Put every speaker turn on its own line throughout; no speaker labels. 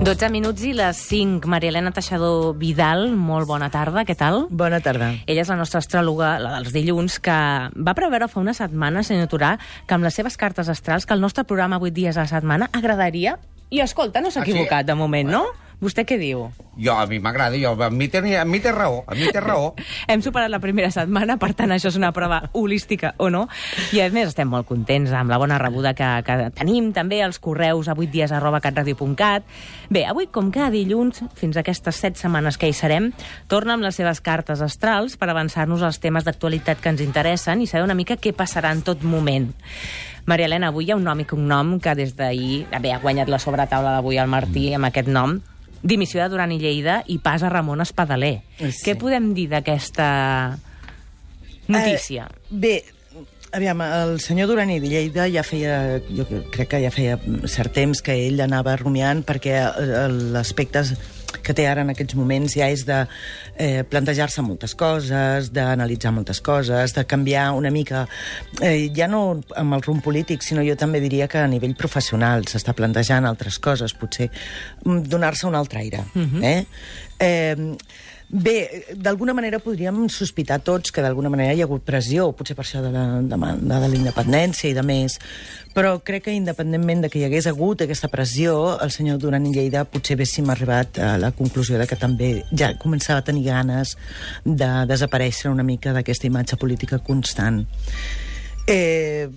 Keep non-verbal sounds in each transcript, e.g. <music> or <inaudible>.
12 minuts i les 5. Maria Elena Teixador Vidal, molt bona tarda, què tal?
Bona tarda.
Ella és la nostra astròloga, la dels dilluns, que va preveure fa una setmana, senyor Turà, que amb les seves cartes astrals, que el nostre programa 8 dies a la setmana agradaria... I escolta, no s'ha
Ah, sí?
equivocat de moment, no? Vostè què diu?
Jo, a mi m'agrada, jo, a mi, té, a mi té raó, a mi té raó.
Hem superat la primera setmana, per tant, això és una prova holística o no. I, a més, estem molt contents amb la bona rebuda que, que tenim, també els correus a 8 dies arroba catradio.cat. Bé, avui, com cada dilluns, fins a aquestes 7 setmanes que hi serem, torna amb les seves cartes astrals per avançar-nos als temes d'actualitat que ens interessen i saber una mica què passarà en tot moment. Maria Elena, avui hi ha un nom i cognom que des d'ahir bé, ha guanyat la sobretaula d'avui al Martí amb aquest nom, dimissió de Duran i Lleida i pas a Ramon Espadaler.
Sí.
Què podem dir d'aquesta notícia?
Eh, bé, aviam, el senyor Duran i Lleida ja feia, jo crec que ja feia cert temps que ell anava rumiant perquè eh, l'aspecte que té ara en aquests moments ja és de eh, plantejar-se moltes coses, d'analitzar moltes coses, de canviar una mica, eh, ja no amb el rumb polític, sinó jo també diria que a nivell professional s'està plantejant altres coses, potser mm, donar-se un altre aire. eh? Eh, Bé, d'alguna manera podríem sospitar tots que d'alguna manera hi ha hagut pressió, potser per això de la demanda de la independència i de més, però crec que independentment de que hi hagués hagut aquesta pressió, el senyor Duran i Lleida potser haguéssim arribat a la conclusió de que també ja començava a tenir ganes de desaparèixer una mica d'aquesta imatge política constant. Eh,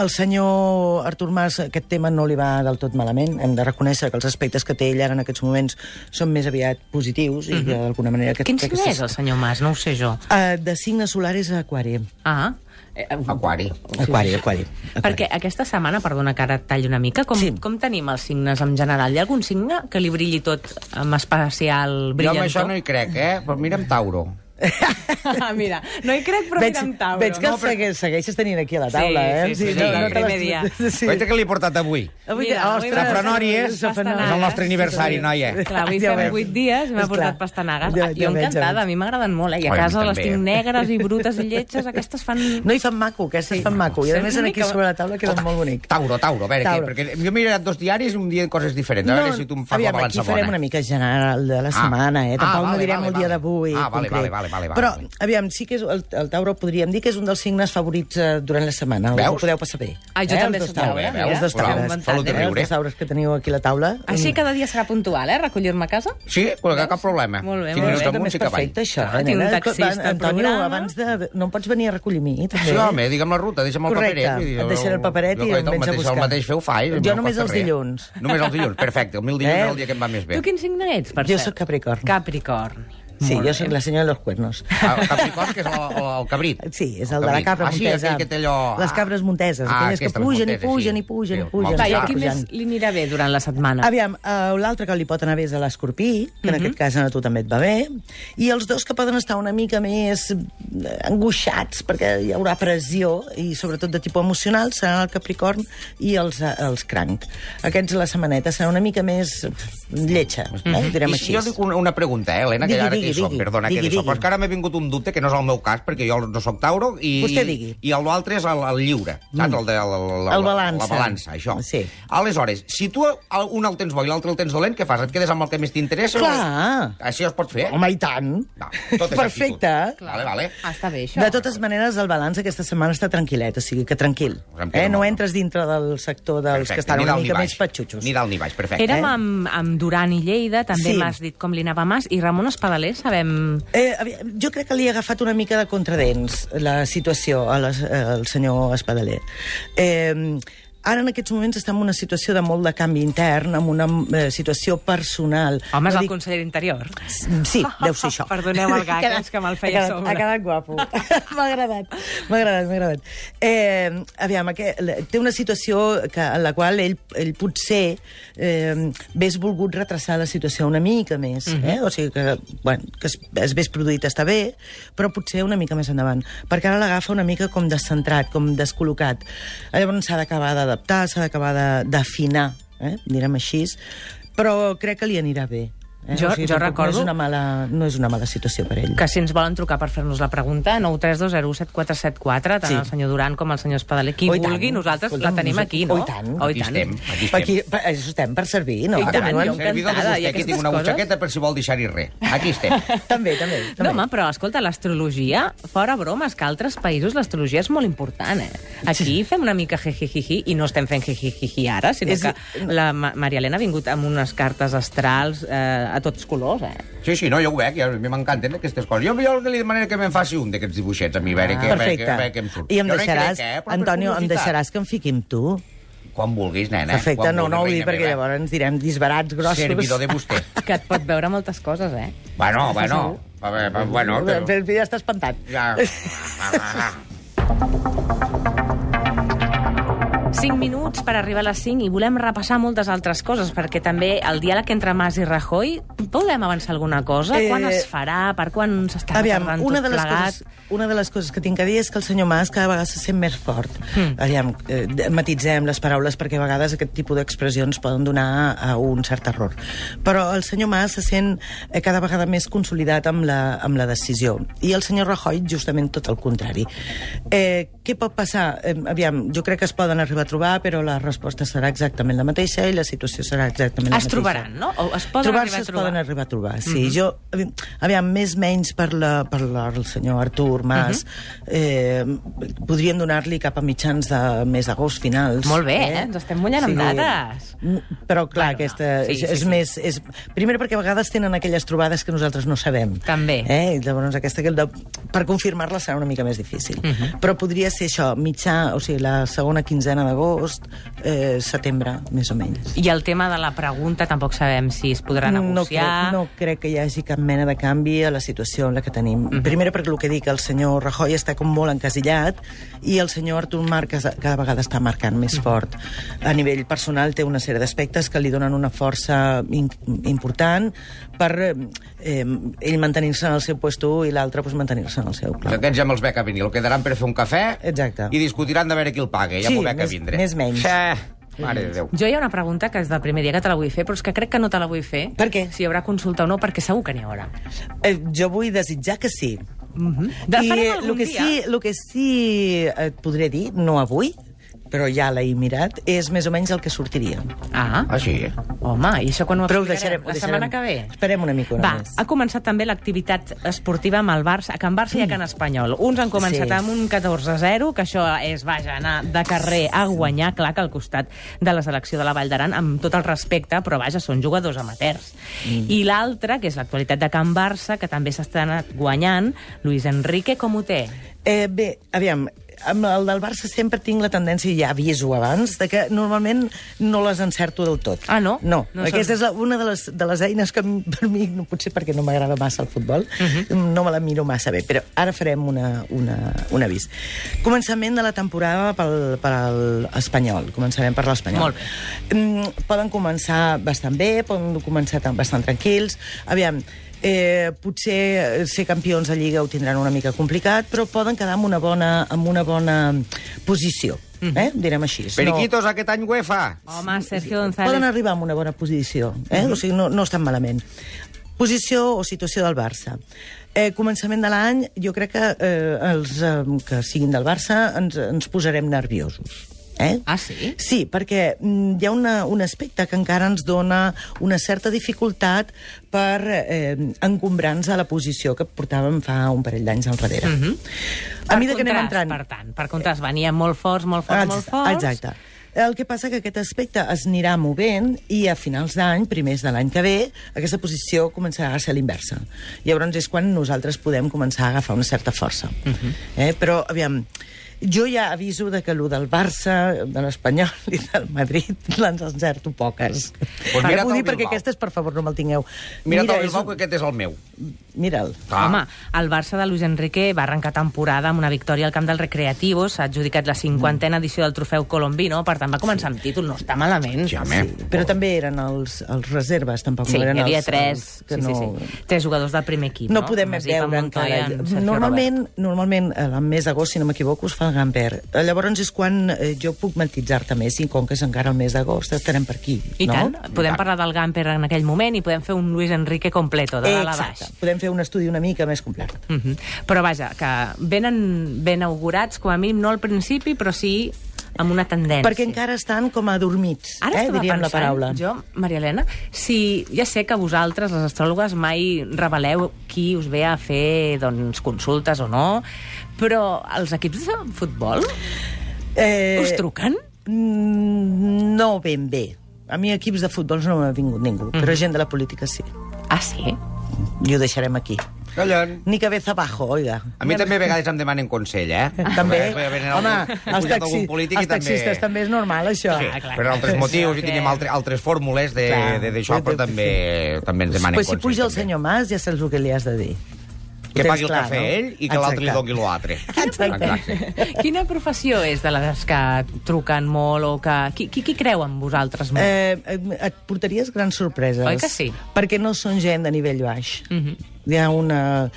el senyor Artur Mas aquest tema no li va del tot malament. Hem de reconèixer que els aspectes que té ell ara en aquests moments són més aviat positius i
Mhm.
que d'alguna manera... Aquest,
Quin signe és el senyor Mas? No ho sé jo.
Uh, de signe solar és aquari.
Ah, eh,
Aquari.
Aquari, aquari.
perquè aquesta setmana, perdona que ara et tallo una mica, com, sí.
Sí.
com tenim els signes en general? Hi ha algun signe que li brilli tot amb especial
Jo amb això
brillantor?
no hi crec, eh? Però mira'm Tauro.
<laughs> Ah, mira, no hi crec, però
veig,
mira amb Tauro.
veig que
no?
el segueix, segueixes tenint aquí a la taula,
Sí,
eh?
sí, sí,
sí, del
te
primer
l'has-
dia.
Sí. Oita que l'he portat avui.
Avui,
Mira, avui
ostres,
m'ha portat
Safranori, eh?
pastanagues.
És el nostre aniversari, noia.
Clar, avui
<laughs> Ja
fem
veus.
8 dies i m'ha
És
portat
clar.
pastanagues.
Ja-
Ah, jo
ja veig, ja
encantada, a
veig.
mi m'agradaven molt, eh? I a
Oi, a mi
casa les
també.
tinc negres i brutes
<laughs>
i lletges, aquestes fan...
No hi fan maco, aquestes sí. fan maco. I a
Sí,
més
una
aquí
mica-
sobre la taula queden molt bonic.
Tauro, Tauro, a veure,
Tauro.
Què, perquè jo he mirat dos diaris i un dia coses diferents. A veure si tu em fas la
aviam,
balança
aquí farem
bona.
una mica general de la
Ah.
setmana, eh?
Ah,
Tampoc
vale,
no direm
vale,
el dia
vale.
d'avui.
Ah, vale,
concret.
vale, vale, vale, vale.
Però, aviam, sí que és, el, el Tauro podríem dir que és un dels signes favorits eh, durant la setmana. Ho
Veus?
podeu passar bé. Eh,
Ah, jo també
els
soc
dos
Tauro,
Taures,
mira.
Els dos
Hola,
Taures.
un Salut i
eh? Els
riure.
dos Taures que teniu aquí a la taula.
Així cada dia serà puntual, eh? Recollir-me a casa?
Sí, però que cap problema.
Molt bé,
Cinc
molt
minuts
bé.
També
amunt,
és
sí que
perfecte, això.
Clar,
eh,
tinc un
nena?
taxista al
Antonio,
programa.
abans de... No em pots venir a recollir a mi, també?
Sí, home, digue'm la ruta, deixa'm el
Correcte,
paperet.
et deixaré el paperet i em vens a buscar.
El mateix feu fa, eh?
Jo
No
només
costa
els
res.
dilluns.
Només els dilluns, perfecte. El meu dilluns
Eh?
era el dia que em va més bé.
Tu quin signe ets, per
Jo
cert?
sóc Capricorn.
Capricorn.
Sí,
Molt
jo
bé.
eh?
sóc la senyora de los cuernos.
El Capricorn, Ah, que és el, el, el cabrit.
Sí, és el, de la
cabrit.
cabra
ah, sí,
montesa.
aquell que té allò...
Les cabres monteses,
Ah,
aquelles que
aquestes
pugen i
monteses,
pugen
sí.
i pugen i
Sí,
pugen.
Va, i a
Ah,
qui més li anirà bé durant la setmana?
Aviam, uh, l'altre que li pot anar bé és a l'escorpí, que
Mhm.
en aquest cas a tu també et va bé, i els dos que poden estar una mica més eh, angoixats, perquè hi haurà pressió, i sobretot de tipus emocional, seran el Capricorn i els, eh, els cranc. Aquests, la setmaneta, serà una mica més lletja, eh, direm
Mhm. I
així.
Jo dic una, una pregunta, eh, Helena, que
Digui,
ara
digui,
que hi som,
digui.
perdona,
Digui,
que hi som,
digui.
però és que ara m'ha vingut un dubte que no és el meu cas, perquè jo no sóc Tauro, i,
Vostè digui. Mm.
i l'altre és el, el lliure, saps? El de la, la, la,
El balança.
La balança, això.
Sí.
Aleshores, si tu el- un el tens bo i l'altre el tens dolent, què fas? Et quedes amb el que més t'interessa?
Clar.
O... Això es pot fer?
Home, i tant!
Va, tot és
Perfecte.
actitud. Vale, vale.
Ah, està bé, això.
De totes maneres, el balanç aquesta setmana està tranquil·let, o sigui que tranquil.
Em quedo
Eh? No
molt, no?
entres dintre del sector dels
Perfecte,
que estan
ni
una
dalt ni
mica
baix.
més patxutxos.
Ni dalt ni baix, perfecte. eh?
Érem amb, amb Duran i Lleida, també
Eh? Sí.
m'has dit com li anava Mas, i Ramon Espadaler, sabem...
Eh, avi- jo crec que li ha agafat una mica de contradents la situació a les, eh, al senyor Espadaler. Eh, ara en aquests moments està en una situació de molt de canvi intern, en una eh, situació personal.
Home, és
No
el
dic-
conseller d'Interior.
Sí, deu ser
<laughs>
això.
Perdoneu el gag, eh, és que me'l feia
ha
a
quedat,
sobre.
Ha quedat
<laughs>
guapo. m'ha agradat, m'ha agradat, m'ha agradat. Eh, aviam, aqu- l- té una situació que, en la qual ell, ell potser eh, vés volgut retrasar la situació una mica més,
Mhm.
eh? o sigui que, bueno, que es, es vés produït està bé, però potser una mica més endavant, perquè ara l'agafa una mica com descentrat, com descol·locat. Llavors s'ha d'acabar d'adaptar, s'ha d'acabar de- d'afinar, eh? direm així, però crec que li anirà bé. Eh?
Jo- jo
tampoc
recordo-
No és, una mala, no és una mala situació per ell.
que si ens volen trucar per fer-nos la pregunta, 932017474, tant
Sí.
el senyor Duran com el senyor Espadaler, qui
Oh, i tant.
vulgui, nosaltres
Escolta'm,
la tenim
nosaltres-
aquí, no?
oh, i tant.
Oh,
Aquí estem, aquí
Per
estem.
aquí, per, això estem per servir, no?
I tant,
També,
jo
bueno,
Servidor de
encantada, i
vostè, aquí tinc
aquestes
una
coses.
butxaqueta per si vol deixar-hi res. Aquí
<laughs>
estem.
també, també. també.
No, home, però escolta, l'astrologia, fora bromes, que a altres països l'astrologia és molt important, eh? Aquí fem una mica jejijiji, i no estem fent jejijiji ara, sinó
És-
que la Ma Maria Elena ha vingut amb unes cartes astrals eh, a tots colors, eh?
Sí, sí, no, jo ho veig, ja, a mi m'encanten aquestes coses. Jo, jo el que li demanaré que me'n faci un d'aquests dibuixets a mi, a veure, ah, que, a veure, que,
Perfecte.
a veure què em surt.
I em
Jo no hi
deixaràs,
crec, eh, però per
Antonio, em
curiositat.
deixaràs que em fiqui amb tu?
Quan vulguis, nena.
Perfecte,
quan
no,
vulguis,
no ho dic
reina
perquè
meva.
llavors ens direm disbarats grossos.
Servidor de
<laughs>
vostè.
Que et pot veure moltes coses, eh?
Bueno, bueno. A veure, va- bueno, que...
Però Ja està espantat. <laughs>
Ja.
5 minuts per arribar a les 5 i volem repassar moltes altres coses, perquè també el diàleg entre Mas i Rajoy, podem avançar alguna cosa?
Eh,
Eh... Quan es farà? Per quan s'està
Aviam,
retardant
una
tot
de, les
plegat?
coses, una de les coses que tinc a dir és que el senyor Mas cada vegada se sent més fort. Mm.
Hmm.
Aviam, eh, de- matitzem les paraules perquè a vegades aquest tipus d'expressions poden donar a un cert error. Però el senyor Mas se sent eh, cada vegada més consolidat amb la, amb la decisió. I el senyor Rajoy justament tot el contrari. Eh, què pot passar? Eh, aviam, jo crec que es poden arribar a trobar, però la resposta serà exactament la mateixa i la situació serà exactament la
Es
mateixa.
trobaran, no? O es poden
Trobar-se
arribar a
es
trobar.
poden arribar a trobar, sí.
Mhm.
Jo, avi- aviam, més menys per, la, per la, el senyor Artur Mas,
Mhm.
eh, podríem donar-li cap a mitjans de mes d'agost finals.
Molt bé, eh? Ens estem mullant amb dates.
Mm,
Bueno, no.
Però, clar, bueno, aquesta
Sí,
sí,
sí,
és, és
sí.
més... És, primer perquè a vegades tenen aquelles trobades que nosaltres no sabem.
També.
Eh? I llavors aquesta, que el de, per confirmar-la serà una mica més difícil.
Mhm.
Però podria ser això, mitjà, o sigui, la segona quinzena d'agost, eh, setembre, més o menys.
I el tema de la pregunta tampoc sabem si es podrà negociar.
No crec, no crec que hi hagi cap mena de canvi a la situació en la que tenim. Mm -hmm. Primer perquè el que dic, el senyor Rajoy està com molt encasillat i el senyor Artur Marques cada vegada està marcant més fort. A nivell personal té una sèrie d'aspectes que li donen una força in important per eh, eh, ell mantenir-se en el seu puesto i l'altre pues, mantenir-se en el seu. Clar.
Aquests ja me'ls veig a venir. El quedaran per fer un cafè
Exacte.
Eh. i discutiran de veure qui el paga. Ja
Sí,
m'ho veig a
més-
vindre.
més menys.
Sí. Mare de Déu.
Jo hi ha una pregunta que és del primer dia que te la vull fer, però és que crec que no te la vull fer.
Per què?
Si hi haurà consulta o no, perquè segur que n'hi haurà.
Eh, jo vull desitjar que sí.
Mm -hmm.
I
farem
el
algun
que,
dia.
sí, el que sí eh, et podré dir, no avui, però ja l'he mirat, és més o menys el que sortiria.
Ah,
Ah, sí, eh?
home, i això quan ho
Però ho
explicarem?
deixarem, ho
La
deixarem.
setmana que ve?
Esperem una mica
Va,
una més.
ha començat també l'activitat esportiva amb el Barça, a Can Barça i a Can Espanyol. Uns han començat
Sí.
amb un 14-0, que això és, vaja, anar de carrer a guanyar, clar que al costat de la selecció de la Vall d'Aran, amb tot el respecte, però vaja, són jugadors amateurs.
Mm.
I l'altre, que és l'actualitat de Can Barça, que també s'està anat guanyant, Luis Enrique, com ho té?
Eh, bé, aviam, amb el del Barça sempre tinc la tendència, ja aviso abans, de que normalment no les encerto del tot.
Ah, no?
No.
No
no
són-
Aquesta és la, una de les, de les eines que m- per mi, no, potser perquè no m'agrada massa el futbol,
Mhm.
no me la miro massa bé, però ara farem una, una, un avís. Començament de la temporada pel, pel espanyol. Començarem per l'espanyol.
Molt bé.
Mm, poden començar bastant bé, poden començar tan, bastant tranquils. Aviam, eh, potser eh, ser campions de Lliga ho tindran una mica complicat, però poden quedar amb una bona, amb una bona posició,
Mhm.
mm -hmm. eh? direm així.
Periquitos, aquest any UEFA.
Home, Sergio
No, poden
González...
arribar amb una bona posició, eh?
Mhm.
o sigui, no, no estan malament. Posició o situació del Barça. Eh, començament de l'any, jo crec que eh, els eh, que siguin del Barça ens, ens posarem nerviosos. Eh?
Ah, sí?
Sí, perquè mm, hi ha una, un aspecte que encara ens dona una certa dificultat per eh, encombrar-nos a la posició que portàvem fa un parell d'anys enrere. Mm -hmm. A mesura que anem
contrast,
entrant...
Mhm. Per tant, per contrast, venien molt forts, molt forts, molt
Exacte,
forts.
Exacte. El que passa que aquest aspecte es anirà movent i a finals d'any, primers de l'any que ve, aquesta posició començarà a ser l'inversa. Llavors és quan nosaltres podem començar a agafar una certa força.
Mhm.
eh? Però, aviam, jo ja aviso de que allò del Barça, de l'Espanyol i del Madrid <laughs> l'ens encerto poques.
Pues mira't
Ara ho
el
dic perquè
Bilbao.
aquestes, per favor, no me'l tingueu.
Mira, Mira
és
el Bilbao,
un-
que aquest és el meu.
Mira'l.
Ah. Home, el Barça de Luis Enrique va arrencar temporada amb una victòria al camp del Recreativo, s'ha adjudicat la cinquantena edició del trofeu Colombino, per tant va començar amb títol, no està malament.
Ja, home. Sí.
Però també eren els, els reserves, tampoc
Oh. Sí,
no
hi
eren
havia
els,
tres,
els
sí,
que
sí,
no...
sí. tres jugadors del primer equip.
no,
No,
podem més
Masip, en
veure
Montoya,
encara.
en Sergio
Normalment, normalment, el mes eh, d'agost, si no m'equivoco, es fa de Gamper. Llavors és quan eh, jo puc matitzar-te més, i com que és encara el mes d'agost, estarem per aquí.
I
no?
tant, podem
tant.
parlar del Gamper en aquell moment i podem fer un Luis Enrique completo, de dalt a baix.
Exacte. Podem fer un estudi una mica més complet.
Mm Però vaja, que venen ben augurats, com a mínim, no al principi, però sí amb una tendència.
Perquè encara estan com adormits,
Ara
eh,
estava
diríem
pensant,
la paraula.
jo, Maria Elena, si ja sé que vosaltres, les astròlogues, mai reveleu qui us ve a fer doncs, consultes o no, però els equips de futbol eh...
Eh,
us truquen?
mm, No ben bé. A mi equips de futbol no m'ha vingut ningú, però gent de la política sí.
Ah, sí?
I ho deixarem aquí.
Callant.
Ni cabeza abajo, oiga.
A mi també a vegades em demanen consell, eh?
També,
Perquè venen
home,
algun- he
els,
pujat
taxi,
algun polític i
els taxistes també... és normal, això. Ah.
Sí,
clar,
per altres
clar.
motius
Sí,
i
ok.
tenim altres, altres fórmules de-
Clar.
de- d'això,
Sí,
però
sí,
també, també ens demanen
Pues si
consell.
puja el
també.
senyor Mas ja saps el que li has de dir. Ho
Que
tens
pagui el
clar,
cafè
no?
ell i que l'altre li
Exacte.
doni l'altre.
Exacte.
Quina professió és de les que truquen molt o que... Qui, qui, qui creu en vosaltres molt? Eh...
Eh, et- et portaries grans sorpreses.
Oi que sí?
Perquè no són gent de nivell baix.
Mhm.
Hi ha una...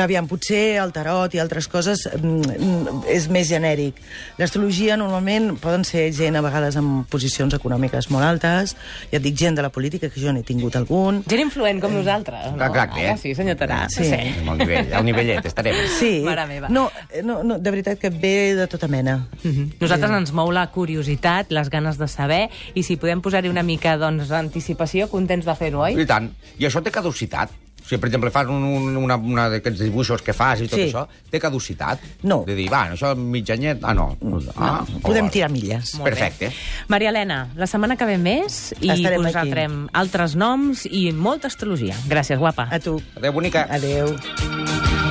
Aviam, potser el tarot i altres coses mm, mm, és més genèric. L'astrologia normalment poden ser gent a vegades amb posicions econòmiques molt altes, ja et dic gent de la política, que jo n'he tingut algun,
Gent influent com nosaltres, no?
Exacte, eh?
Ah, sí, senyor Tarà.
Sí.
sí.
Al nivell, al nivellet, estarem.
Sí.
Mare meva.
No, eh, no, no, de veritat que ve de tota mena.
Mhm. Nosaltres ens mou la curiositat, les ganes de saber, i si podem posar-hi una mica d'anticipació, contents de fer-ho, oi?
I tant. I això té caducitat. O sigui, per exemple, fas un, un, una, una d'aquests dibuixos que fas i tot
Sí.
això, té caducitat?
No.
De dir, va, això mig anyet... Ah, no. Ah,
No,
molt
Podem
bé.
tirar milles.
Molt bé.
Perfecte.
Maria Elena, la setmana que ve més i
Estarem
us
aquí.
retrem altres noms i molta astrologia. Gràcies, guapa.
A tu.
Adéu, bonica.
Adéu.